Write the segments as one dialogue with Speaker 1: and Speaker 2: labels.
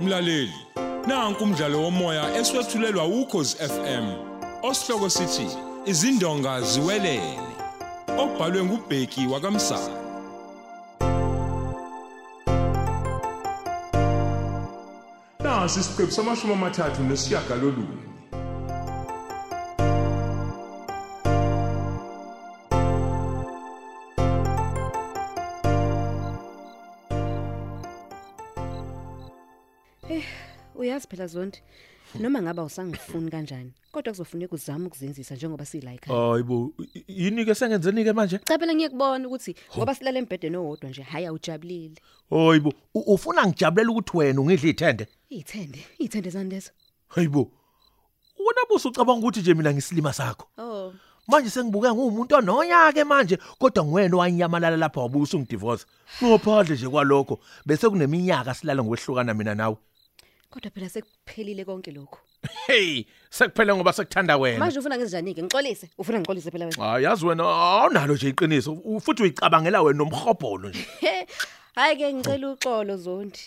Speaker 1: Mlaleli, nanku umdlalo womoya eswetshulelwa ukhozi FM. Osihloko sithi izindonga ziwelele. Obhalwe ngubheki wakamsa. Nasi isiqephu samashumi amathathu nesishiyagalolunye.
Speaker 2: uyazi phela zonke noma ngaba usangifuni kanjani kodwa kuzofuneka uzame ukuzenzisa njengoba siyilayika
Speaker 3: hayibo yini ke sengenzeni ke manje
Speaker 2: cha phela ngiyekubona ukuthi ngoba silale embhedeni owodwa nje hayi awujabulile
Speaker 3: hayibo u- ufuna ngijabulela ukuthi wena ungidla ithende
Speaker 2: iyithende iyithende zandezo
Speaker 3: hayibo wena buso ucabanga ukuthi nje mina ngisilima sakho
Speaker 2: oh
Speaker 3: manje sengibuke ngumuntu ononya ke manje kodwa ngiwena owanyamalala lapha wabusa ungidivorce ngophandle nje kwalokho bese kuneminyaka silale ngokwehlukana mina nawe
Speaker 2: kodwa phela sekuphelile konke lokho
Speaker 3: hey sekuphela ngoba sekuthanda wena
Speaker 2: manje ufuna ngenzenjani ke ngixolise ufuna ngixolise phela wena
Speaker 3: hayi yazi wena awunalo nje iqiniso u- futhi uyicabangela wena nomhobholo nje
Speaker 2: hayi ke ngicela uxolo zondi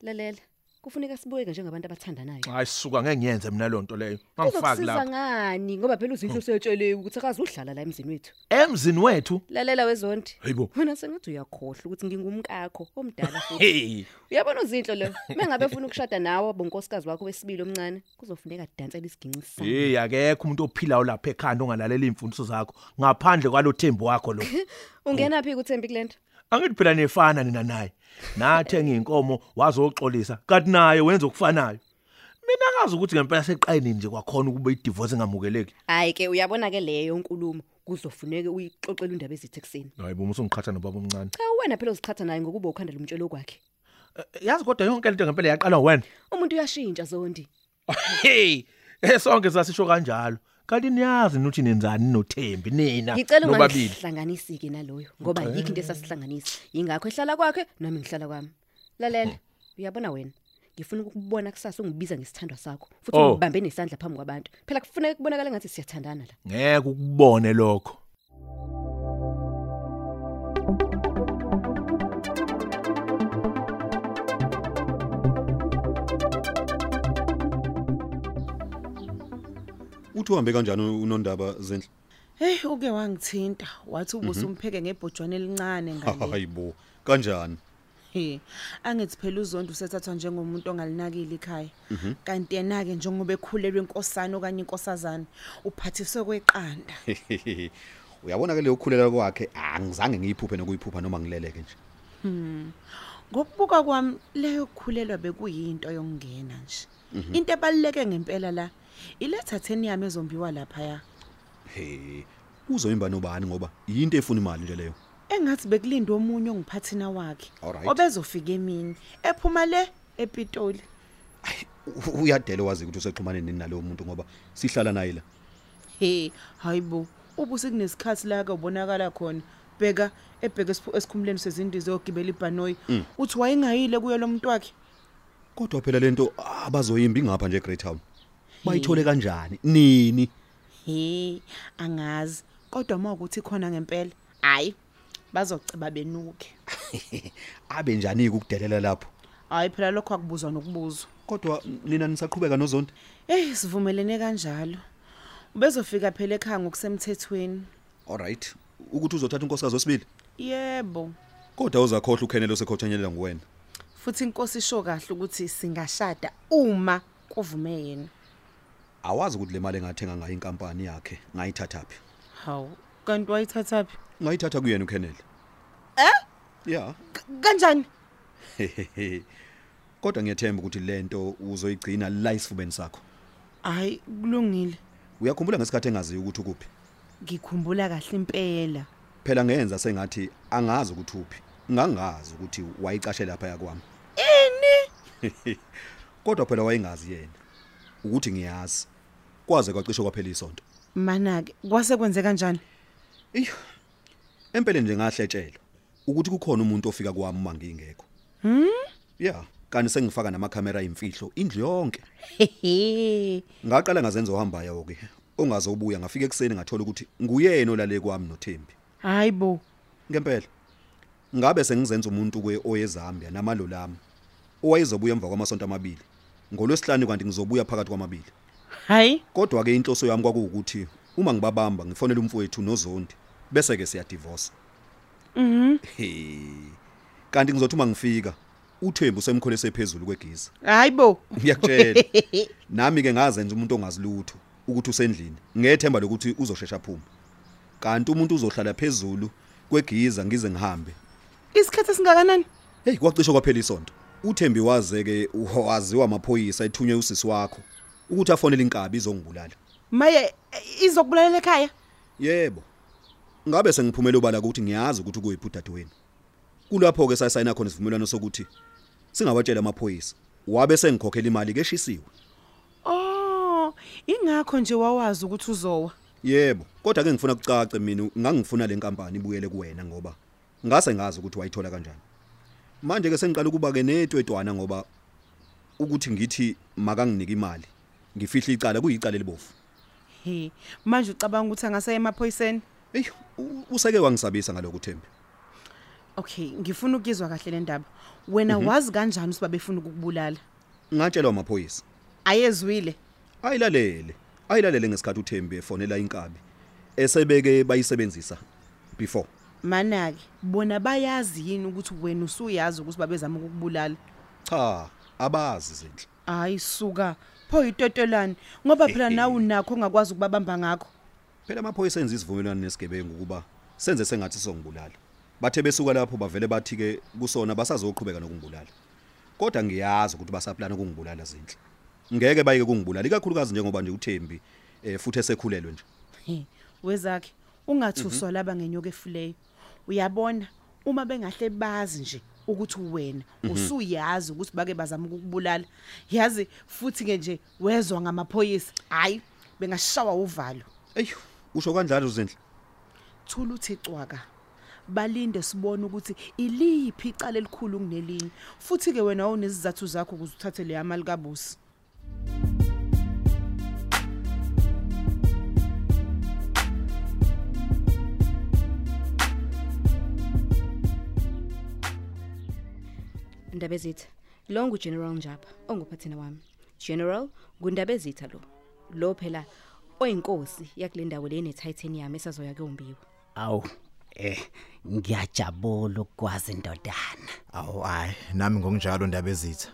Speaker 2: lalela kufuneka sibukeke njengabantu abathandanayo
Speaker 3: hayi suka ngeke ngiyenze mina leo nto leyo angifaki
Speaker 2: kuzokusiza
Speaker 3: lapha
Speaker 2: ngani ngoba phela uzinhle usetsheliwe ukuthi akazi udlala la emzini wethu
Speaker 3: emzini wethu
Speaker 2: lalela wezondi
Speaker 3: hayibo
Speaker 2: wena sengathi uyakhohlwa ukuthi ngingumkakho omdala futhi
Speaker 3: hey
Speaker 2: uyabona uzinhlo lo mengabe ufuna ukushada nawe bonkosikazi wakho wesibili omncane kuzofuneka dansele isiginci sami
Speaker 3: hey akekho umuntu ophilayo lapha ekhanda ongalalela imfundiso zakho ngaphandle kwalo thembu wakho lo
Speaker 2: ungena phi kuThembi Glenda
Speaker 3: angithi phela nefana nina naye nathenga inkomo wazoxolisa kanti naye wenza okufanayo mina akazi ukuthi ngempela seqayini nje kwakhona ukuba idivorce ngamukeleki
Speaker 2: hayi ke uyabona ke leyo inkulumo kuzofuneka uyixoxele indaba ezithe kuseni
Speaker 3: hayibo musungiqhatha nobaba omncane
Speaker 2: cha wena phela uziqhatha naye ngokuba ukhanda lomtshelo kwakhe
Speaker 3: yazi kodwa yonke lento ngempela yaqala wena
Speaker 2: umuntu uyashintsha zondi
Speaker 3: hey esonke Eh, sasisho kanjalo kanti niyazi ukuthi nenzani noThembi nina
Speaker 2: ngicela
Speaker 3: nobabili
Speaker 2: ungangihlanganisi ke naloyo ngoba yikho into esasihlanganisa yingakho ehlala kwakhe nami ngihlala kwami lalela uyabona wena ngifuna ukukubona kusasa ungibiza ngesithandwa sakho futhi
Speaker 3: Oh.
Speaker 2: ungibambe nesandla phambi kwabantu phela kufuneka kubonakala ngathi siyathandana la
Speaker 3: ngeke ukubone lokho
Speaker 4: uthi uhambe kanjani unondaba zenhle
Speaker 5: Hey uke wangithinta wathi ubuso umpheke ngebhojwane elincane ngale.
Speaker 4: hayibo Ah, kanjani
Speaker 5: Eh angithi phela uzondo usethathwa njengomuntu ongalinakile ikhaya. Kanti yena ke njengoba ekhulelwe inkosana okanye inkosazana uphathiswe kweqanda.
Speaker 4: uyabona ke leyo khulela kwakhe angizange ngiyiphuphe nokuyiphupha noma ngileleke nje
Speaker 5: Ngokubuka kwami leyo kukhulelwa bekuyinto yokungena nje. Into ebaluleke ngempela la ilethatheni yami ezombiwa lapha ya.
Speaker 4: he uzoyimba nobani ngoba yinto efuna imali nje leyo
Speaker 5: Engathi bekulindwe omunye ongiphathina wakhe
Speaker 4: Alright.
Speaker 5: obezofika emini ephuma le ePitoli.
Speaker 4: Ayi, u- uyadele wazi ukuthi usexhumane nini nalowo muntu ngoba sihlala naye la
Speaker 5: he hayibo ubuse kunesikhathi la ke ubonakala khona bheka ebheke esiphu- esikhumuleni sezindiza yogibela ibhanoyi uthi wayengayile kuyo lo muntu wakhe
Speaker 4: kodwa phela lento abazoyimba ingapha nje Great Town bayithole kanjani nini
Speaker 5: he angazi kodwa uma ukuthi khona ngempela hayi bazoceba benuke
Speaker 4: abe njani ukudelela lapho
Speaker 5: hayi phela lokho akubuzwa nokubuzwa
Speaker 4: kodwa nina nisaqhubeka nozonto
Speaker 5: eyi sivumelene kanjalo ubezofika phela ekhaya ngokusemthethweni
Speaker 4: alright ukuthi uzothatha unkosikazi osibili
Speaker 5: yebo
Speaker 4: kodwa uzakhohle ukhenelo sekhothanyelwa nguwena
Speaker 5: futhi inkosi isho kahle ukuthi singashada uma kuvume yena
Speaker 4: awazi ukuthi le mali engathenga ngayo inkampani yakhe ngayithatha phi
Speaker 5: hawu kanti wayithatha phi
Speaker 4: ngayithatha kuyena uKenneth eh ya
Speaker 5: K- kanjani
Speaker 4: kodwa ngiyethemba ukuthi lento uzoyigcina la isifubeni sakho
Speaker 5: hayi kulungile
Speaker 4: uyakhumbula ngesikhathi engaziyo ukuthi ukuphi
Speaker 5: ngikhumbula kahle impela
Speaker 4: phela ngenza sengathi angazi ukuthi uphi ngangazi ukuthi wayicashe lapha yakwami ini kodwa phela wayengazi yena ukuthi ngiyazi kwaze kwacishe kwaphela isonto
Speaker 5: mana-ke kwase kwenze kanjani
Speaker 4: Eyi. Empeleni nje ngahletshelwa ukuthi kukhona umuntu ofika kwami uma ngingekho. Mhm. Yeah, kanti sengifaka namakamera imfihlo indlu yonke.
Speaker 5: hehe
Speaker 4: Ngaqala ngazenza ohambayo ke. Ongaze ubuya ngafika ekseni ngathola ukuthi nguyena olale kwami noThembi.
Speaker 5: hayi bo
Speaker 4: Ngempela. Ngabe sengizenza umuntu kwe oyezambia namalo lami. owayezobuya emva kwamasonto amabili ngolwesihlanu kanti ngizobuya phakathi kwamabili
Speaker 5: hhayi
Speaker 4: kodwa ke inhloso yami kwakuwukuthi uma ngibabamba ngifonele umfowethu nozondi bese ke siyadivorce mhm kanti ngizothi uma ngifika uThembu semkholese phezulu kwegiza
Speaker 5: hhayi bo
Speaker 4: ngiyakutshela nami ke ngaze nje umuntu ongazilutho ukuthi usendlini ngethemba lokuthi uzoshesha aphuma kanti umuntu uzohlala phezulu kwegiza ngize ngihambe
Speaker 5: isikhathi esingakanani
Speaker 4: hey kwacishe kwaphela isonto uThembi waze ke waziwa amaphoyisa ethunywe usisi wakho ukuthi afonele inkabi izongibulala
Speaker 5: maye izokubulalela ekhaya
Speaker 4: yebo ngabe sengiphumela obala ukuthi ngiyazi ukuthi kuyiphi udadewenu kulapho ke sasayina khona isivumelwano sokuthi singawatshela amaphoyisa wabe sengikhokhela imali keshisiwe
Speaker 5: o Oh, ingakho nje wawazi ukuthi uzowa
Speaker 4: yebo kodwa ke ngifuna ukucace mina ngangifuna le nkampani ibuyele kuwena ngoba ngase ngazi ukuthi wayithola kanjani manje ke sengiqala ukuba ke netwetwana ngoba ukuthi ngithi makanginike imali ngifihle icala kuyicala elibofu
Speaker 5: he manje ucabanga ukuthi angasaye emaphoyiseni
Speaker 4: eyi u- useke wangisabisa ngaloku Thembi
Speaker 5: okay ngifuna ukuyizwa kahle le ndaba wena wazi kanjani ukuba befuna ukukubulala
Speaker 4: ngatshelwa amaphoyisa
Speaker 5: ayezwile
Speaker 4: ayilalele ayilalele ngesikhathi uThembi efonela inkabi esebeke bayisebenzisa before
Speaker 5: mana-ke bona bayazi yini ukuthi wena usuyazi ukuthi babezama ukukubulala
Speaker 4: cha abazi izinhle
Speaker 5: hhayi suka pho yitotolane ngoba phela nawe unakho ongakwazi ukubabamba ngakho
Speaker 4: phela amaphoyisa enza isivumelwano nesigebengu ukuba senze sengathi sizongibulala bathe besuka lapho bavele bathi ke kusona basazoqhubeka nokungibulala kodwa ngiyazi ukuthi basaplana ukungibulala zinhle ngeke bayike kungibulala ikakhulukazi njengoba nje uThembi eh, futhi esekhulelwe nje
Speaker 5: He, wezakhe ungathuswa laba ngenyoka efuleyo uyabona uma bengahle bazi nje ukuthi wena usuyazi ukuthi bake bazama ukukubulala yazi futhi-ke nje wezwa ngamaphoyisa hhayi bengashawa uvalo
Speaker 4: eyi usho kanjalo zinhle
Speaker 5: thula uthi cwaka balinde sibone ukuthi iliphi icala elikhulu kunelinye futhi-ke wena wawunezizathu zakho ukuze uthathe leya mali kabusi
Speaker 2: ndaba ezitha lo ngugeneral njapa onguphathina wami general ngundaba ezitha lo lo phela oyinkosi yakule ndawo le netitanium esazoya kuyombiwa
Speaker 6: awu eh ngiyajabula ukwazi indodana
Speaker 7: awu hayi nami ngokunjalo ndaba ezitha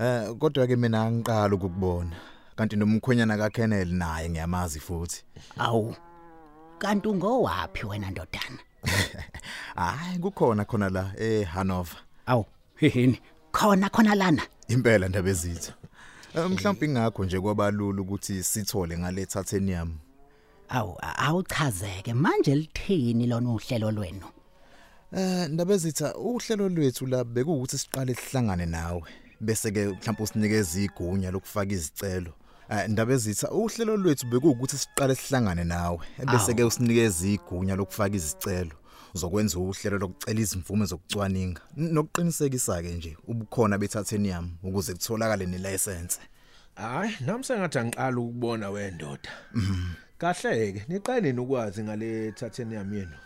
Speaker 7: eh kodwa ke mina angiqala ukukubona kanti nomkhwenyana kaKennel naye ngiyamazi futhi
Speaker 6: awu kanti ungowaphi wena ndodana
Speaker 7: hayi kukhona khona la eHanover
Speaker 6: awu yini khona khona lana
Speaker 7: impela ndaba ezitha Eh, mhlawumbe ingakho nje kwabalula ukuthi sithole ngalethathenium
Speaker 6: awu a- awuchazeke manje lithini lona uhlelo lwenu
Speaker 7: Eh ndaba ezitha uhlelo lwethu la bekuwukuthi siqale sihlangane nawe bese ke mhlawumbe usinikeze igunya lokufaka izicelo. Eh ndaba ezitha uhlelo lwethu bekuwukuthi siqale sihlangane nawe bese ke usinikeze igunya lokufaka izicelo zokwenza uhlelo lokucela izimvume zokucwaninga n- nokuqinisekisa ke nje ubukhona bethathenium ukuze kutholakale nelicense.
Speaker 3: hayi nami sengathi angiqala ukubona wendoda kahle-ke niqaleni ukwazi ngale titanium yenu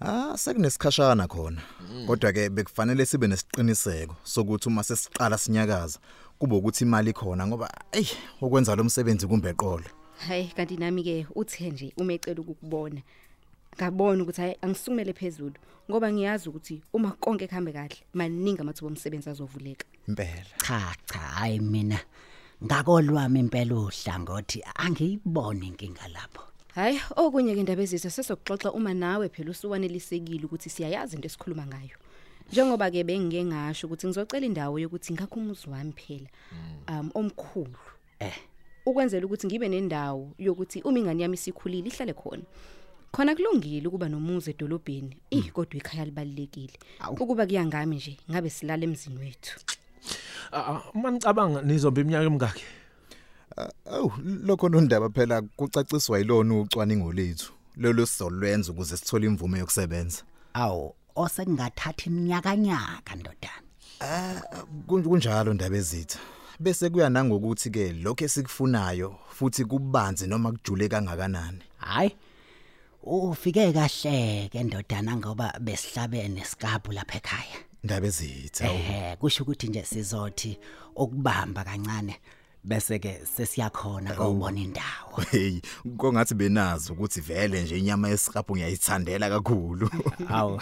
Speaker 7: Ah sekunesikhashana khona. Kodwa ke bekufanele sibe nesiqiniseko sokuthi uma sesiqala sinyakaza kube ukuthi imali khona ngoba ey ukwenza lo msebenzi kumbe eqolo.
Speaker 2: hayi kanti nami-ke uthe nje uma ecela ukukubona ngabona ukuthi hayi angisukumele phezulu ngoba ngiyazi ukuthi uma konke kuhambe kahle maningi amathuba omsebenzi azovuleka
Speaker 7: Impela.
Speaker 6: cha cha hayi mina ngakolwami impela uhlangothi angiyiboni inkinga lapho
Speaker 2: hhayi okunye-ke ndaba ezizwe sesokuxoxa uma nawe phela usuwanelisekile ukuthi siyayazi into esikhuluma ngayo njengoba-ke bengike ngasho ukuthi ngizocela indawo yokuthi ngakho umuzi wami phela um omkhulu
Speaker 6: eh
Speaker 2: ukwenzela ukuthi ngibe nendawo yokuthi uma ingane yami isikhulile ihlale khona khona kulungile ukuba nomuzi edolobheni ih kodwa ikhaya libalulekile ukuba kuyangami nje ngabe silala emzini wethu
Speaker 3: uma nicabanga nizobe iminyaka emingaki
Speaker 7: Aw lokho nondaba phela kucaciswa yilona ucwaningo lethu. Lolo sizolwenza ukuze sithole imvume yokusebenza.
Speaker 6: awu osekungathatha iminyakanyaka ndodana
Speaker 7: Kun- kunjalo ndaba ezitha. Bese kuya nangokuthi ke lokho esikufunayo futhi kubanzi noma kujule kangakanani.
Speaker 6: hayi ufike kahle ke ndodana ngoba besihlabene skapu lapha ekhaya
Speaker 8: ndaba ezitha
Speaker 6: ehe kusho ukuthi nje sizothi ukubamba kancane bese ke sesiyakhona ukubona indawo
Speaker 8: hey kongathi benazi ukuthi vele nje inyama yesiqaphu ngiyayithandela kakhulu
Speaker 6: awu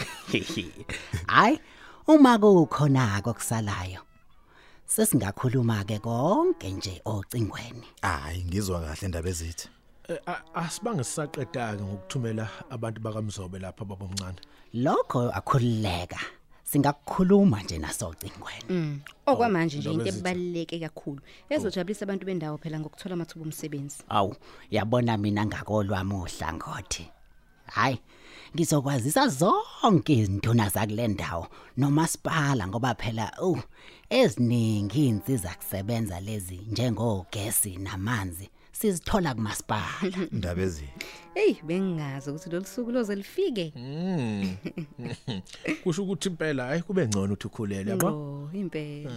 Speaker 6: hayi uma kukhona akusalayo sesingakhuluma ke konke nje ocingweni
Speaker 8: hayi ngizwa kahle ndaba ezitha
Speaker 3: Eh, a- asibange sisaqedake ngokuthumela abantu bakamzobe lapha babomncane
Speaker 6: lokho akhululeka singakukhuluma nje nasocingweni
Speaker 2: okwamanje nje into
Speaker 3: Ndabezitha.
Speaker 2: ebaluleke kakhulu ezojabulisa abantu bendawo phela ngokuthola amathuba omsebenzi
Speaker 6: awu yabona mina ngakolwami uhlangothi hayi ngizokwazisa zonke izintuna zakule ndawo nomasipala ngoba phela oh eziningi insiza kusebenza lezi njengogesi namanzi sizithola kumasipala
Speaker 8: ndaba ezitha
Speaker 2: eyi bengingazi ukuthi lolu suku loze lifike
Speaker 3: Hmm. kusho ukuthi impela hayi kube ngcono ukuthi ukhulele yabo
Speaker 2: o impela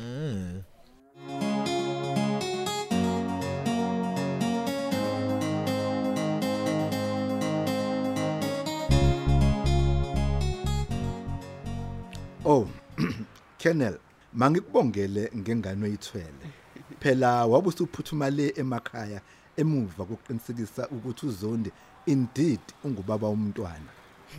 Speaker 7: Oh, Kennel, mangikubongele ngengane oyithwele. Phela wabusa uphuthuma le emakhaya emuva kokuqinisekisa ukuthi uZondi indeed ungubaba womntwana.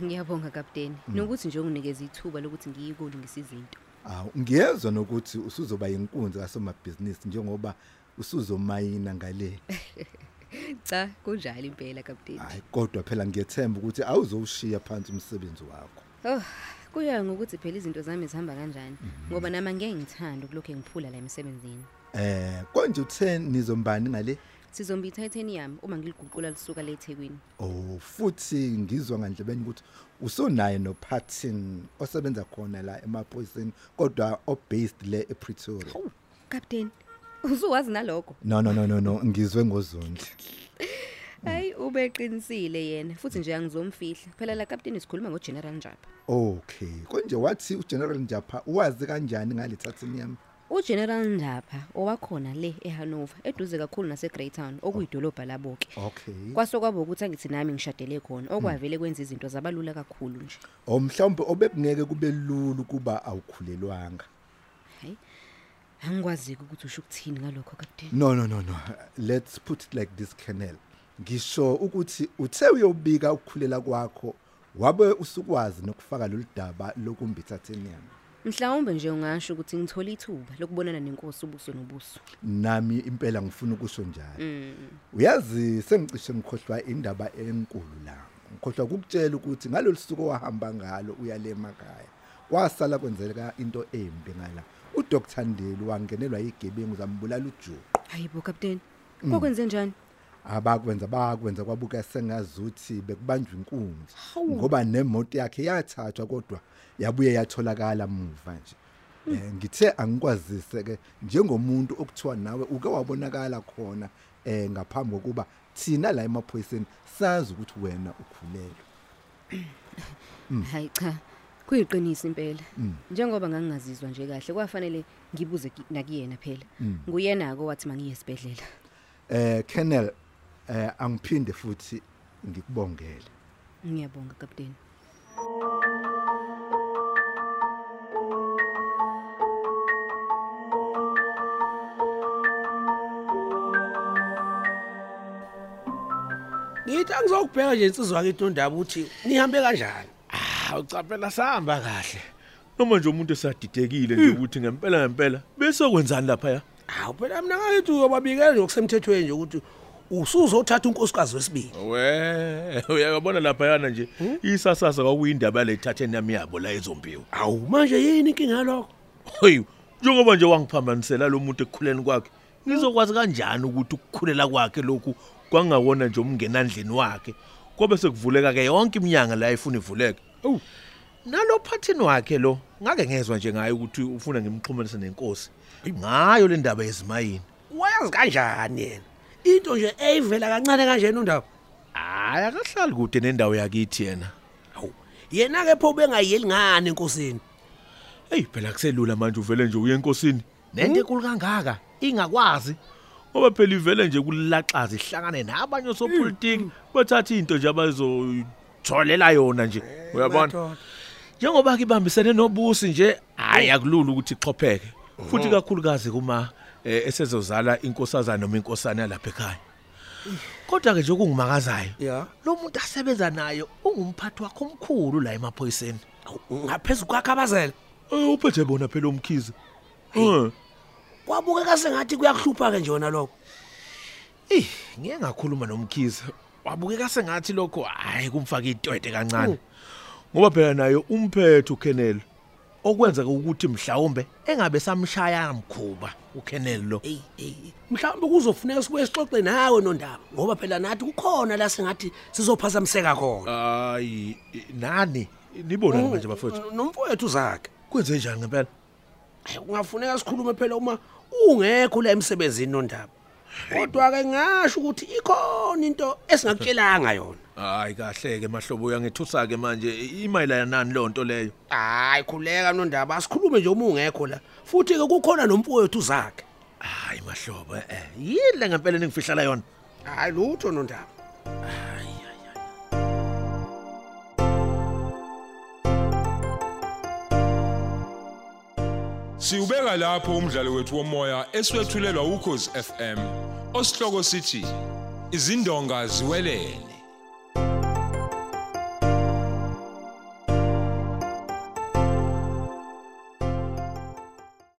Speaker 2: ngiyabonga kapteni nokuthi nje unginikeza ithuba lokuthi ngiyikulungisa izinto
Speaker 7: Awu, ngiyezwa nokuthi usuzoba inkunzi kasomabhizinisi njengoba usuzomayina ngale.
Speaker 2: cha kunjalo impela kapteni
Speaker 7: Hayi kodwa phela ngiyethemba ukuthi awuzowushiya phansi umsebenzi wakho.
Speaker 2: oh kuya ngokuthi phela izinto zami zihamba kanjani ngoba nama ngeke ngithande ukulokhu ngiphula la emsebenzini
Speaker 7: Eh, konje uthe nizombani ngale?
Speaker 2: sizomba i-titanium uma ngiliguqula lisuka le ethekwini
Speaker 7: Oh futhi ngizwa ngandlebeni ukuthi usonaye noPatin osebenza khona la emaphoyiseni kodwa obased le ePretoria.
Speaker 2: kapteni usuwazi nalokho
Speaker 7: No no no no no ngizwe ngozondi.
Speaker 2: hayi ubeqinisile yena futhi nje angizomfihla phela la kapteni sikhuluma ngogeneral njapa
Speaker 7: Okay, konje wathi uGeneral Njapa wazi kanjani ngalithathini yami?
Speaker 2: ugeneral njapa owakhona le ehanover eduze kakhulu nase-greytown okuyidolobha labo-ke
Speaker 7: Okay.
Speaker 2: kwasokwaba ukuthi angithi nami ngishadele khona okwavele kwenza izinto zabalula kakhulu nje
Speaker 7: Omhlawumbe Oh, obekungeke kube lulu kuba awukhulelwanga.
Speaker 2: hayi angikwaziki ukuthi usho ukuthini ngalokho kapteni
Speaker 7: No no no no. Let's put it like this Kennel. Ngisho ukuthi uthe uyobika ukukhulela kwakho wabe usukwazi nokufaka lolu daba lokumbithatheni yami.
Speaker 2: mhlawumbe nje ungasho ukuthi ngithole ithuba lokubonana nenkosi ubuso nobuso
Speaker 7: nami impela ngifuna ukusho njalo uyazi sengicishe ngikhohlwa indaba enkulu la ngikhohlwa ukukutshela ukuthi ngalolu suku owahamba ngalo uyale emakhaya kwasala kwenzeka into embi ngala udr ndeli wangenelwa yigebengu zambulala ujuqu
Speaker 2: hayi bo kapteni kokwenze njani
Speaker 7: abakwenza bakwenza kwabuka sengazuthi bekubanjwa inkunzi ngoba nemoto yakhe yathathwa kodwa yabuye yatholakala muva nje Eh, ngithe angikwazise ke njengomuntu okuthiwa nawe uke wabonakala khona eh ngaphambi kokuba thina la emaphoyiseni sazi ukuthi wena ukhulelwe
Speaker 2: hayi cha kuyiqiniso impela njengoba ngangingazizwa nje kahle kwafanele ngibuze ki- nakuyena phela nguyena-ko wathi mangiye esibhedlela
Speaker 7: eh Kennel eh angiphinde futhi ngikubongele
Speaker 2: ngiyabonga kapteni
Speaker 5: ngithi angizokubheka nje insizwa yakhe intondaba ukuthi nihambe kanjani
Speaker 3: hawu cha phela sahamba kahle noma nje umuntu esadidekile nje ukuthi ngempela ngempela bese kwenzani lapha ya
Speaker 5: hawu phela mina ngakithi uyobabikela nje ngokusemthethweni nje ukuthi usuzothatha unkosikazi wesibili
Speaker 3: we uyabona lapha yana nje
Speaker 5: Hmm?
Speaker 3: isasasa kwakuyindaba yalethatheni yami yabo la ezombiwa
Speaker 5: hawu manje yini inkinga yalokho
Speaker 3: hey njengoba nje wangiphambanisela lo muntu ekukhuleni kwakhe ngizokwazi kanjani ukuthi ukukhulela kwakhe lokhu kwangawona nje umngenandlini wakhe kobe sekuvuleka ke yonke iminyanga la ayifuna ivuleke awu nalo phathini wakhe lo ngake ngezwe nje ngayo ukuthi ufuna ngimxhumanise nenkosi ngayo le ndaba yezimayini
Speaker 5: wayazi kanjani yena into nje eyivela kancane kanjena undaba
Speaker 3: hayi akahlali kude nendawo yakithi yena
Speaker 5: hawu yena-ke pho ubengayiyeli ngani enkosini
Speaker 3: Hey phela kuselula manje uvele nje uye enkosini. Nento enkulu kangaka ingakwazi. Ngoba phela ivele nje kulaxaza ihlangane nabanye
Speaker 5: Hmm.
Speaker 3: osopolitiki bathatha into nje abazojolela yona nje. Uyabona?
Speaker 5: Eh, madoda. Hmm.
Speaker 3: njengoba ke ibambisene nobusi nje hayi akulula ukuthi ixhopheke futhi kakhulukazi kuma eh, esezozala inkosazana noma inkosana lapha ekhaya kodwa ke nje okungimakazayo
Speaker 5: Ya.
Speaker 3: lo muntu asebenza naye ungumphathi wakho omkhulu la emaphoyiseni
Speaker 5: ngaphezulu kwakhe abazela
Speaker 3: Eh, uphethe bona phela umkhize Eh,
Speaker 5: kwabukeka sengathi kuyakuhlupha-ke nje wona lokho
Speaker 3: eyi ngeke ngakhuluma nomkhize wabukeka sengathi lokho hhayi kumfake itwete kancane Oh. ngoba phela naye umphethe ukenelo okwenzeka ukuthi mhlawumbe engabe samshaya mkhuba ukenelo lo
Speaker 5: eyi eyi mhlawumbe kuzofuneka sibuye sixoxe nawe nondaba ngoba phela nathi kukhona la sengathi sizophazamiseka khona
Speaker 3: hayi nani nibonani manje bafowethu
Speaker 5: Oh. Mm, nomfowethu zakhe
Speaker 3: kwenze njani ngempela
Speaker 5: Ayi, kungafuneka sikhulume phela uma ungekho la emsebenzini nondaba kodwa-ke ngasho ukuthi ikhona into esingakutshelanga yona
Speaker 3: hayi kahle-ke mahlobo uyangethusa-ke manje imayelana nani leyo nto leyo
Speaker 5: hayi khuleka nondaba asikhulume nje uma ungekho la futhi-ke kukhona nomfowethu zakhe
Speaker 3: hayi mahlobo e-e yini le ngempela ningifihlala yona
Speaker 5: hayi lutho nondaba
Speaker 1: Siubeka lapho umdlalo wethu womoya eswetshulelwa ukhozi FM. Osihloko sithi izindonga ziwelele.